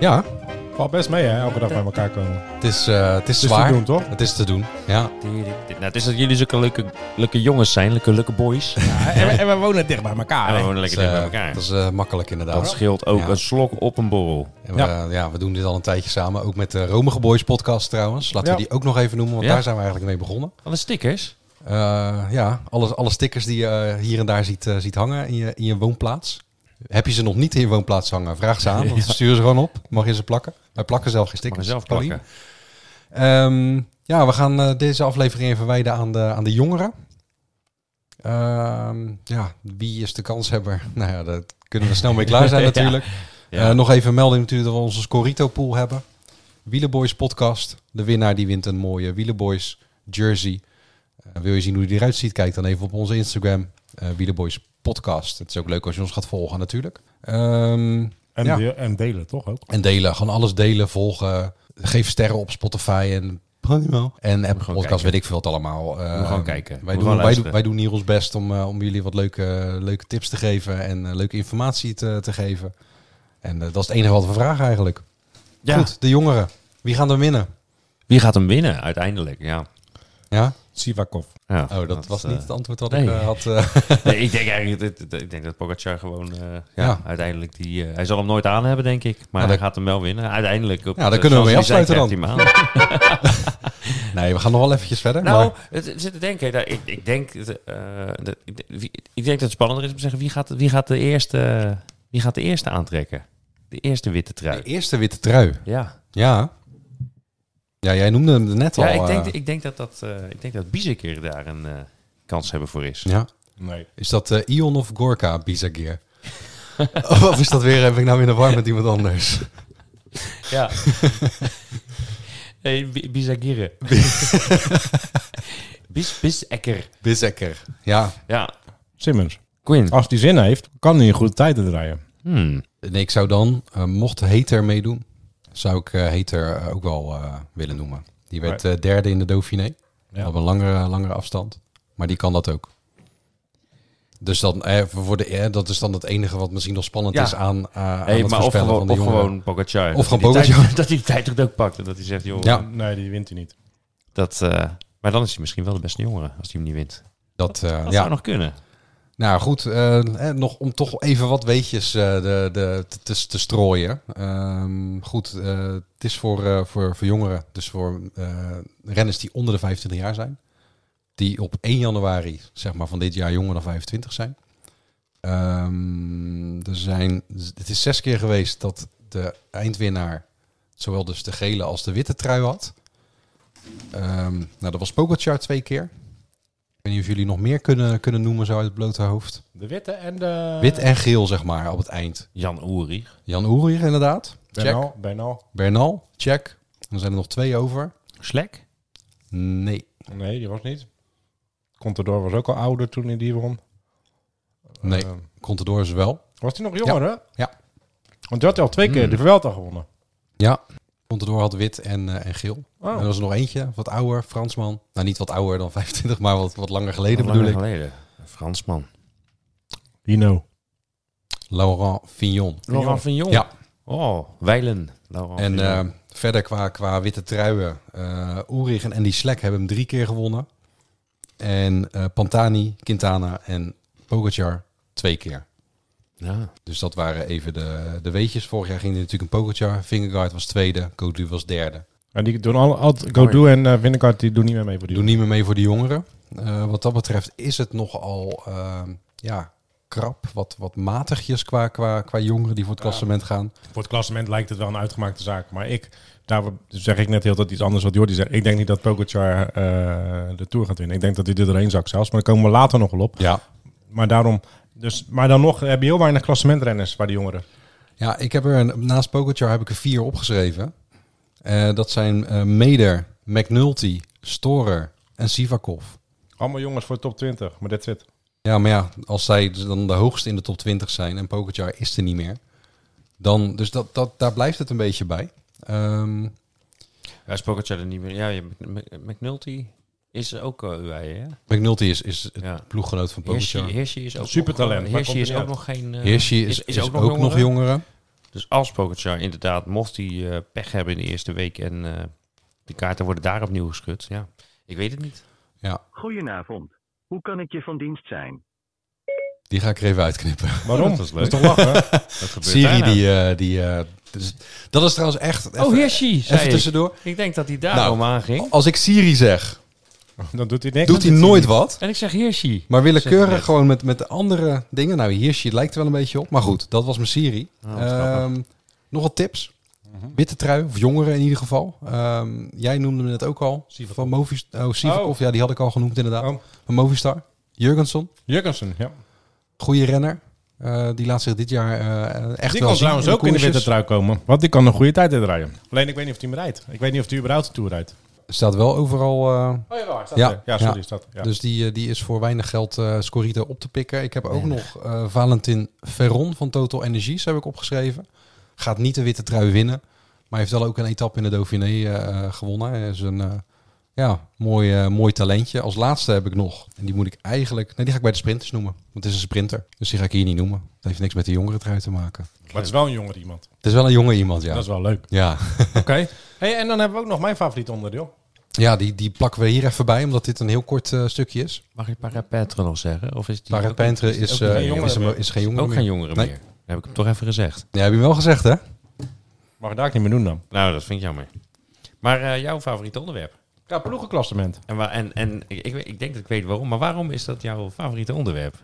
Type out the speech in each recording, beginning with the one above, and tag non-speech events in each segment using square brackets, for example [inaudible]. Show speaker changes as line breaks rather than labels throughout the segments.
Ja,
Valt best mee, hè? Elke dag bij elkaar komen.
het is, eh, het is
te
zwaar.
doen, toch?
Het is te doen, ja.
Nou, het is dat jullie zulke leuke, leuke jongens zijn, leuke, leuke boys.
en, we wonen dicht bij
en
elkaar.
we wonen lekker
Het is,
dicht bij
eh,
elkaar.
Dat is eh, makkelijk inderdaad.
Dat scheelt ook
Ja.
een slok op een borrel.
En we, eh, ja. we doen dit al een tijdje samen. Ook met de Romige Boys podcast trouwens. Laten we
Ja.
die ook nog even noemen, want
Ja.
daar zijn we eigenlijk mee begonnen.
Alle stickers?
Eh, ja, alle, alle stickers die je eh, hier en daar ziet, eh, ziet hangen in je, in je woonplaats. Heb je ze nog niet in je woonplaats hangen? Vraag ze
[laughs]
aan. want Stuur ze gewoon op. Mag je ze plakken? Wij plakken zelf geen
Mag je
stickers.
zelf
Paulien.
plakken.
Ehm, ja, we gaan eh, deze aflevering even wijden aan de, aan de jongeren. Ehm, ja, wie is de kanshebber? [laughs] Nou ja, daar kunnen we snel mee klaar
[laughs]
zijn
Ja.
natuurlijk.
Ja.
Eh, nog even melding natuurlijk dat we onze Scorito pool hebben. Wielenboys podcast. De winnaar die wint een mooie Wielenboys jersey. Eh, wil je zien hoe die eruit ziet? Kijk dan even op onze Instagram. eh Wielenboys podcast. Het is ook leuk als je ons gaat volgen natuurlijk. Ehm,
En,
Ja.
de- en delen, toch ook?
en delen. Gewoon alles delen, volgen. Geef sterren op Spotify en... En Apple
gewoon
Podcast,
kijken.
weet ik veel het allemaal. Eh,
gewoon kijken. Moet
Wij
gewoon
doen, wij, doen,
luisteren.
wij doen hier ons best om, eh, om jullie wat leuke, leuke tips te geven en eh, leuke informatie te, te geven. En eh, dat is het enige wat we vragen eigenlijk.
Ja.
Goed, de jongeren. Wie gaan er winnen?
Wie gaat hem winnen uiteindelijk? Ja.
Ja?
Sivakov.
Ja,
Oh, dat, was
eh,
niet
[laughs]
het antwoord wat
nee.
ik eh, had.
[laughs]
eh. [laughs]
nee, ik denk eigenlijk dat- dat- ik denk dat Pogacar gewoon eh, ja,
Ja.
uiteindelijk die. eh, hij zal hem nooit aan hebben, denk ik. Maar
Ja,
hij
dat-
gaat hem wel winnen. Uiteindelijk. Op,
Ja, daar
eh,
kunnen we mee
zoals hij zei,
afsluiten
krijgt hij hem aan.
nee, we gaan nog wel eventjes verder.
Nou,
maar
het, het zit te denken. daar- Ik, ik, denk, dat, eh, dat- ik, wie- ik denk dat het spannender is om te zeggen wie gaat, wie gaat, de, eerste, wie gaat de eerste aantrekken. De eerste witte trui.
de eerste witte trui.
Ja,
Ja. Ja, jij noemde hem net al.
ja ik, denk,
eh,
ik denk dat, dat, eh ik denk dat Bizeker daar een eh, kans hebben voor is.
ja.
Nee.
Is dat eh, Ion of Gorka Bizagir? [laughs] of is dat weer, heb ik nou weer een war met iemand
[laughs]
anders? [laughs]
Ja. nee, Bi- [laughs] Bizagirre. Bis, Bisekker.
Bizekker. Ja,
Ja,
Simmons.
Quinn.
Als die zin heeft, kan hij een goede tijd draaien.
Hmm.
en ik zou dan, eh, mocht Hater meedoen, zou ik eh Hater eh, ook wel eh, willen noemen. Die werd eh, derde in de Dauphiné.
Ja.
Op een langere, langere afstand. Maar die kan dat ook. Dus dan, eh, voor de, eh, dat is dan het enige wat misschien nog spannend
Ja.
is aan, eh aan
Hey,
het
maar of
voorspellen van
gewoon,
de
of
jongen.
gewoon Pogacar.
Of gewoon
Dat hij die
Pogacar.
tijd- [laughs] Dat hij de tijd toch ook pakt. En dat hij zegt, joh,
Ja.
Nee, die wint hij niet.
Dat, eh, maar dan is hij misschien wel de beste jongere als hij hem niet wint.
Dat, eh,
Dat
ja.
zou nog kunnen.
Nou goed, eh, eh, nog om toch even wat weetjes eh, de, de, te- te, te strooien. Ehm, goed, eh, het is voor, eh, voor, voor jongeren, dus voor eh, renners die onder de 25 jaar zijn. Die op 1 januari zeg maar, van dit jaar jonger dan 25 zijn. Ehm, er zijn. Het is zes keer geweest dat de eindwinnaar zowel dus de gele als de witte trui had. Ehm, nou, dat was Pogacar twee keer. Ik weet niet of jullie nog meer kunnen, kunnen noemen zo uit het blote hoofd.
De witte en de...
Wit en geel, zeg maar, op het eind.
Jan Oerig.
Jan Oerig inderdaad. Check.
Bernal. Bernal.
Bernal, check. Dan zijn er nog twee over.
Slek?
Nee.
Nee, die was niet. Contador was ook al ouder toen hij die won.
Nee.
Eh,
Contador is wel.
was hij nog jonger, hè?
Ja.
Want die had hij al twee keer
Hmm.
de Vuelta gewonnen.
Ja. Contador had wit en, eh, en geel. En er
Oh.
was er nog eentje, wat ouder, Fransman. Nou, niet wat ouder dan [laughs] 25, maar wat, wat langer geleden
Al
bedoel
langer
ik.
geleden. Een Fransman.
Dino.
Laurent Fignon.
Laurent Vignon.
Ja.
Oh, Weilen. Laurent
En
Vignon.
eh, verder qua, qua witte truien. eh Oerig en Andy Slek hebben hem drie keer gewonnen. En eh, Pantani, Quintana en Pogacar twee keer.
ja.
Dus dat waren even de, de weetjes. Vorig jaar ging er natuurlijk een Pogacar. Vingegaard was tweede. Codu was derde.
En die doen al... al Godu en eh Winnekart, die doen niet meer mee voor
Die
die
doen niet meer mee voor de jongeren. Eh, wat dat betreft is het nogal... eh, ja, krap, wat, wat matigjes qua, qua, qua jongeren die voor het
Ja.
klassement gaan.
Voor het klassement lijkt het wel een uitgemaakte zaak. Maar ik, daar zeg ik net heel dat iets anders wat Jordi zegt. Ik denk niet dat Pogacar eh, de Tour gaat winnen. Ik denk dat hij er doorheen zakt zelfs. Maar daar komen we later nog wel op.
Ja.
Maar daarom... Dus, maar dan nog heb je heel weinig klassementrenners bij de jongeren.
ja, ik heb er een, naast Pogacar heb ik er vier opgeschreven. Eh, dat zijn eh, Meder, McNulty, Storer en Sivakov.
Allemaal jongens voor de top 20, maar that's it.
Ja, maar ja, als zij dus dan de hoogste in de top 20 zijn en Pogacar is er niet meer, dan, dus dat, dat, daar blijft het een beetje bij. Ehm,
Ja, Spokertje er niet meer. Ja, je, Mc- Mc- McNulty is ook eh UAE, hè?
McNulty is, is het
Ja.
ploeggenoot van
Hirschi
Pogacar.
Hirschi is ook
Supertalent,
nog-
maar
Hirschi
komt
is
er niet
ook
uit.
nog geen... eh,
Hirschi is, is, ook, nog,
jongere.
jongeren.
Dus als Pogacar inderdaad, mocht hij eh, pech hebben in de eerste week... en eh, de kaarten worden daar opnieuw geschud, ja. Ik weet het niet.
Goedenavond. Hoe kan ik je van dienst zijn?
Die ga ik er even uitknippen. [laughs]
Waarom?
dat is leuk.
toch lachen? [laughs] hè?
Dat gebeurt
Siri, die... eh, die eh, dus- dat is trouwens echt... Even,
Oh, Hirschi, zei
even
ik.
tussendoor.
Ik denk dat hij
Nou.
daarom aanging.
Als ik Siri zeg,
dan doet hij niks.
doet hij nooit wat.
En ik zeg Hirschi.
Maar
Zeg
willekeurig
net.
gewoon met, met de andere dingen. Nou, Hirschi lijkt er wel een beetje op. Maar goed, dat was mijn Siri.
Oh, wat grappig.
Ehm, nog wat tips?
Mhm.
Witte trui, of jongeren in ieder geval. Ehm, jij noemde me net ook al.
Sivakov.
Van Movistar. Oh, Sivakov, ja, die had ik al genoemd inderdaad.
Oh.
Van Movistar. Jurgenson,
Jurgensen, ja.
goede renner. Eh, die laat zich dit jaar eh, echt
Die
wel zien
kan trouwens
in de
ook in de witte
koersjes.
trui komen. Want die kan een goede tijd rijden. Alleen ik weet niet of hij hem rijdt. Ik weet niet of hij überhaupt de Tour rijdt.
Staat wel overal... eh,
Oh ja,
Ja.
ja. ja, sorry,
Ja.
staat ja.
Dus die, eh, die is voor weinig geld eh Scorito op te pikken. Ik heb ook nog eh, Valentin Ferron van Total Energies heb ik opgeschreven. Gaat niet de witte trui winnen. Maar heeft wel ook een etappe in de Dauphiné eh, eh, gewonnen. Hij is een eh, ja, mooi, eh, mooi talentje. Als laatste heb ik nog. En die moet ik eigenlijk... Nee, die ga ik bij de sprinters noemen. Want het is een sprinter. Dus die ga ik hier niet noemen. Het heeft niks met de jongere trui te maken.
Maar het is wel een jonger iemand.
Het is wel een jonge iemand, ja.
Dat is wel leuk.
Ja, [laughs]
Oké. Hey, en dan hebben we ook nog mijn favoriet onderdeel.
ja die, die plakken we hier even bij. Omdat dit een heel kort eh, stukje is.
Mag ik Parapetre nog zeggen? Of is die
Maar
ook-
Pentre is,
ook geen
eh,
jongere
is, hem-
meer.
is geen jongere
Ook geen
meer.
jongeren
Nee.
meer. Dat heb ik hem toch even gezegd.
Ja, heb je wel gezegd, hè?
Mag ik daar ook niet meer doen dan?
Nou, dat vind ik jammer. Maar eh, jouw favoriete onderwerp?
Ja, ploegenklassement.
En, waar, en, en ik, ik, weet- ik denk dat ik weet waarom, maar waarom is dat jouw favoriete onderwerp?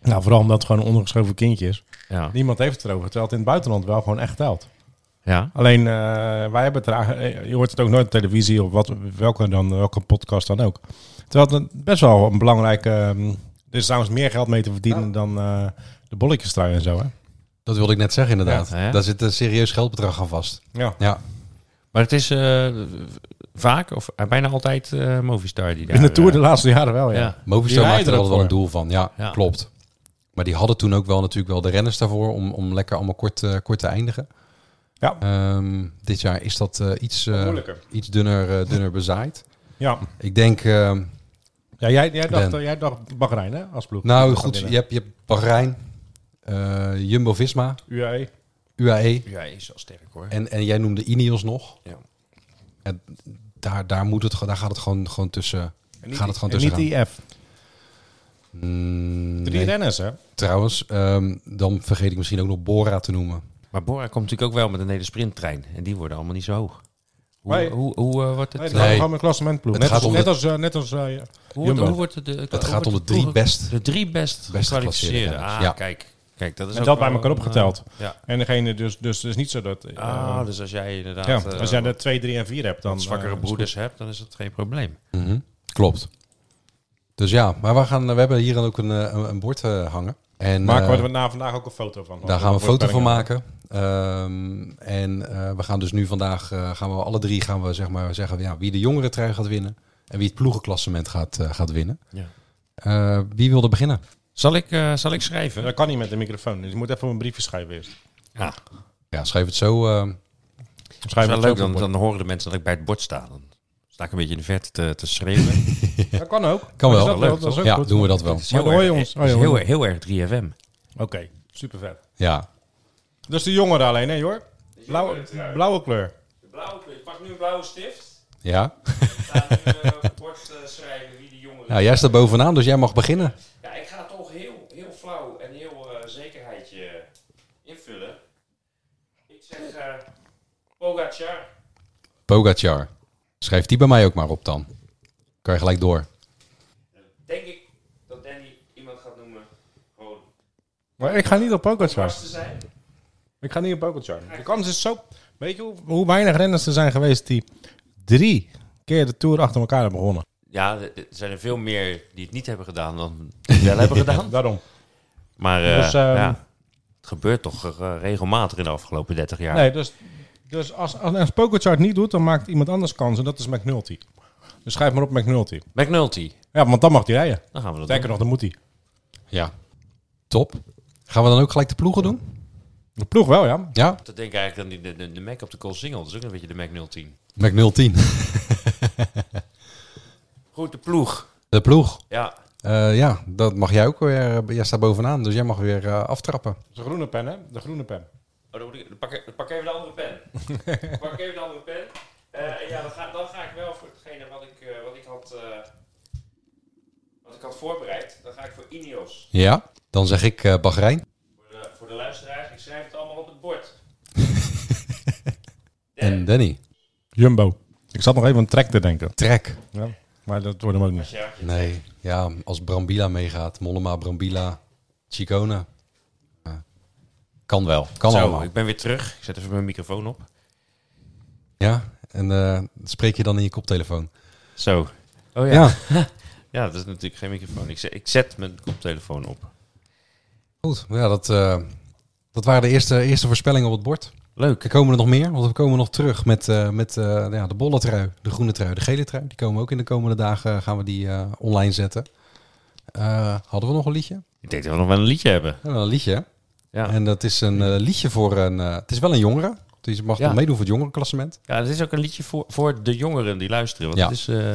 Nou, vooral omdat het gewoon een ondergeschoven kindje is.
Ja.
Niemand heeft het erover, terwijl het in het buitenland wel gewoon echt telt.
ja.
Alleen, eh, wij hebben het er, eh, je hoort het ook nooit op televisie of wat, welke, dan, welke podcast dan ook. Terwijl het een- best wel een belangrijke... ehm, er is trouwens meer geld mee te verdienen dan eh, de bolletjes en zo, hè?
Dat wilde ik net zeggen, inderdaad.
Ja, hè?
Daar zit een serieus geldbedrag aan vast.
Ja.
Ja,
Maar het is eh, vaak, of eh, bijna altijd, eh Movistar die daar...
In de Tour
eh,
de laatste jaren wel, ja.
ja.
Movistar maakt er
rijden
altijd wel een
ervoor.
doel van. Ja,
Ja.
klopt. Maar die hadden toen ook wel natuurlijk wel de renners daarvoor om, om lekker allemaal kort, eh, kort te eindigen.
Ja.
Ehm, dit jaar is dat eh, iets, eh,
Moeilijker.
iets dunner, eh, dunner bezaaid.
Ja,
Ik denk, ehm,
ja jij, jij, dacht, eh,
Ben.
jij dacht Bahrein, hè, als ploeg.
nou
Dat
goed,
gaat
je
winnen.
hebt, je hebt Bahrein, eh, Jumbo-Visma, E.
UAE.
UAE
Ja, is wel sterk hoor.
en, en jij noemde Ineos nog.
Ja.
En daar, daar, moet het, ge- daar gaat het gewoon, gewoon tussen.
En niet-
Gaat het gewoon
en
tussen
niet IF.
Mm,
Drie
nee.
renners, hè?
Trouwens, ehm, dan vergeet ik misschien ook nog Bora te noemen.
Maar Bora komt natuurlijk ook wel met een hele sprinttrein. En die worden allemaal niet zo hoog. Hoe,
Nee.
hoe, hoe eh, wordt het...
Nee,
eh,
dat is
Nee.
gewoon een klassementploeg.
Het
Net,
gaat
als-
om
net
de-
als... eh, net als eh,
Hoe, wordt-
Jumbo.
hoe wordt het... eh,
Het
hoe
gaat
wordt
om de
het
drie
ploegen-
best.
De drie best gekwalificeerde.
geklassificeerde
Ah,
renners, ja.
kijk. Kijk, dat is
En
ook
dat bij
wel
elkaar
een,
opgeteld.
eh, ja.
en degene dus, dus, dus niet zo dat... eh,
Ah, dus als jij inderdaad...
ja,
eh,
als jij er twee, drie en vier hebt, dan...
wat zwakkere
eh, is
broeders hebt, dan is dat geen probleem.
Mhm, Klopt. Dus ja, maar we, gaan, we hebben hier dan ook een, eh, een, een bord eh, hangen. En,
Maken
eh,
we er na vandaag ook een foto van.
daar gaan we een foto van
Voorspellingen.
maken. Ehm, en eh, we gaan dus nu vandaag, eh, gaan we alle drie gaan we zeg maar zeggen ja, wie de jongere trui gaat winnen. En wie het ploegenklassement gaat, eh, gaat winnen.
Ja.
Eh, wie wilde beginnen?
Zal ik, eh, zal ik
Ja,
schrijven?
Dat kan niet met de microfoon, dus je moet even een briefje schrijven eerst.
Ja,
Ja, schrijf het zo. eh,
dat
Schrijf
is wel
het
leuk.
zo
Dan,
op.
dan horen de mensen dat ik bij het bord sta. Dan sta ik een beetje in de verte te, te
[laughs]
schreeuwen.
Dat kan ook.
Kan wel.
Is dat
Leuk,
wel- dat is ook
ja,
goed.
doen we dat wel.
Het is
Maar
heel
dan hoor je
erg-
ons.
het
Oh,
is
je
heel,
hoort
heel erg 3FM.
Oké, super vet.
Ja,
Dus de jongeren alleen, hè, hoor? Blauwe, blauwe kleur.
Ik pak nu een blauwe stift.
ja.
Ga nu eh, het bord schrijven wie de jongeren...
ja jij staat bovenaan, dus jij mag beginnen.
Ja, ik ga toch heel, heel flauw en heel eh, zekerheidje invullen. Ik zeg eh Pogacar.
Pogacar. Schrijf die bij mij ook maar op dan. Kan je gelijk door.
Denk ik dat Danny iemand gaat noemen. Gewoon
Maar ik ga niet op Pokerchart.
zijn.
Ik ga niet op Pokerchart. De kans is zo... Weet je hoe, hoe weinig renners er zijn geweest die drie keer de Tour achter elkaar hebben gewonnen?
Ja, er er zijn er veel meer die het niet hebben
[laughs]
gedaan dan die het wel hebben gedaan.
Daarom.
Maar eh,
Dus, ehm,
ja, het gebeurt toch eh, regelmatig in de afgelopen 30 jaar.
Nee, dus, dus als, als, als Pokerchart niet doet, dan maakt iemand anders kans. En dat is McNulty. Dus schrijf maar op McNulty.
McNulty,
Ja, want dan mag hij rijden.
dan gaan we dat
Sterker nog, dan moet hij.
Ja. Top. Gaan we dan ook gelijk de ploegen doen?
De ploeg wel, ja.
Ja?
Dat denk ik eigenlijk aan die, de, de, de Mac op de Cold Single. Dat is ook een beetje de Mac 010.
McNulty 10.
Goed, de ploeg.
De ploeg.
Ja,
Eh, ja, dat mag jij ook weer. eh, Jij staat bovenaan, dus jij mag weer eh, aftrappen.
De groene pen, hè? De groene pen.
Oh, dan, moet ik, dan pak, ik- dan pak ik even de andere pen. [laughs] Dan pak ik even de andere pen. Eh, en ja, dan ga, dan ga ik wel voor hetgene wat ik, eh, wat ik, had, eh, wat ik had voorbereid. Dan ga ik voor Ineos.
Ja. Dan zeg ik eh Bahrein.
Voor de, voor de luisteraars, ik schrijf het allemaal op het bord.
En Danny.
Jumbo. Ik zat nog even aan trek te denken.
Trek.
Ja. Maar dat wordt hem ook niet.
Ja,
Nee. Ja, als Brambila meegaat. Mollema, Brambila, Chicone. Eh, kan wel. Kan
Zo,
allemaal.
ik ben weer terug. Ik zet even mijn microfoon op.
Ja. En eh, spreek je dan in je koptelefoon.
Zo. Oh ja.
ja.
Ja, dat is natuurlijk geen microfoon. Ik zet, ik zet mijn koptelefoon op.
Goed, ja, dat, eh, dat waren de eerste, eerste voorspellingen op het bord.
Leuk.
Er komen er nog meer, want we komen nog terug met, eh, met eh, nou ja, de bolle trui, de groene trui, de gele trui. Die komen ook in de komende dagen, gaan we die eh, online zetten. Eh, hadden we nog een liedje?
Ik denk dat we nog wel een liedje hebben.
We hebben wel een liedje, hè?
Ja.
En dat is een eh, liedje voor een... eh, het is wel een jongere, dus je mag
Ja.
nog meedoen voor het jongerenklassement.
Ja, het is ook een liedje voor, voor de jongeren die luisteren. Want
Ja.
het is, eh,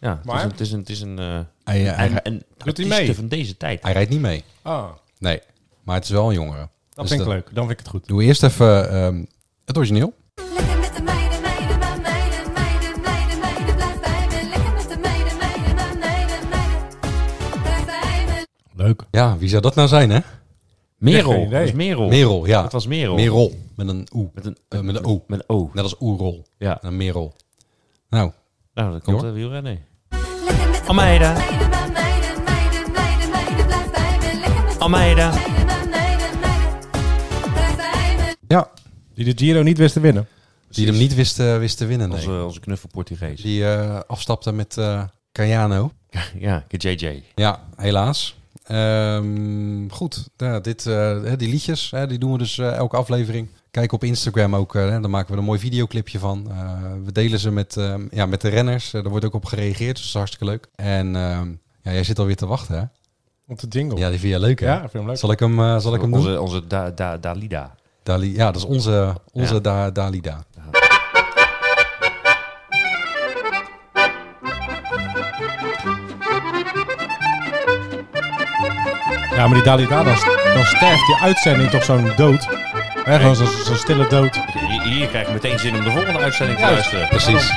ja, het
Maar-
is een, het is een, het is een, eh,
Hij, eh, hij,
een, een
hij
artieste
mee?
van deze tijd.
hij rijdt niet mee,
Ah,
nee. Maar het is wel een jongere. Dus
dat vind ik leuk. Dan vind ik het goed.
Doe eerst even ehm, het origineel.
Lekker met de meiden, meiden, maar meiden, meiden, meiden, meiden, blijf bij me. Lekker met de meiden, meiden, maar meiden, meiden, blijf bij me.
Leuk.
Ja, wie zou dat nou zijn, hè?
Geen
Merel.
idee.
Dat is Merel.
Merel, ja.
Dat was Merel.
Merel, met een oe.
Met een,
Eh, met een O.
met een O.
Net als oerol.
Ja.
Een merel. Nou,
Nou, dat komt
Jongen.
de wielrennen.
Lekker met de
Almeida.
meiden, maar meiden, meiden, meiden, meiden, blijf bij me. Lekker met de
Almeida.
meiden, maar meiden, meiden, blijf bij me.
ja.
Die de Giro niet wist te winnen.
Die hem niet wist, eh, wist te winnen. Nee.
Onze, onze knuffel Portugees.
Die eh, afstapte met eh Cayano.
Ja, JJ.
Ja, helaas. Ehm, goed, ja, dit, eh, hè, die liedjes, hè, die doen we dus eh, elke aflevering. Kijk op Instagram ook, eh, hè, daar maken we een mooi videoclipje van. Eh, we delen ze met, ehm, ja, met de renners. Er daar wordt ook op gereageerd, dus dat is hartstikke leuk. En ehm, ja, jij zit alweer te wachten, hè?
Op de jingle.
Ja, die vind je leuk, hè?
Ja, vind ik hem leuk.
Zal ik hem, eh, zal ik hem doen?
Onze, onze da, da, Dalida.
Dali, ja, dat is onze, onze
Ja.
Da- Dalida.
Ja, maar die Dalida, dan, dan sterft die uitzending toch zo'n dood. Hè, gewoon zo'n zo'n stille dood.
Hier, hier krijg ik meteen zin om de volgende uitzending te luisteren.
Precies.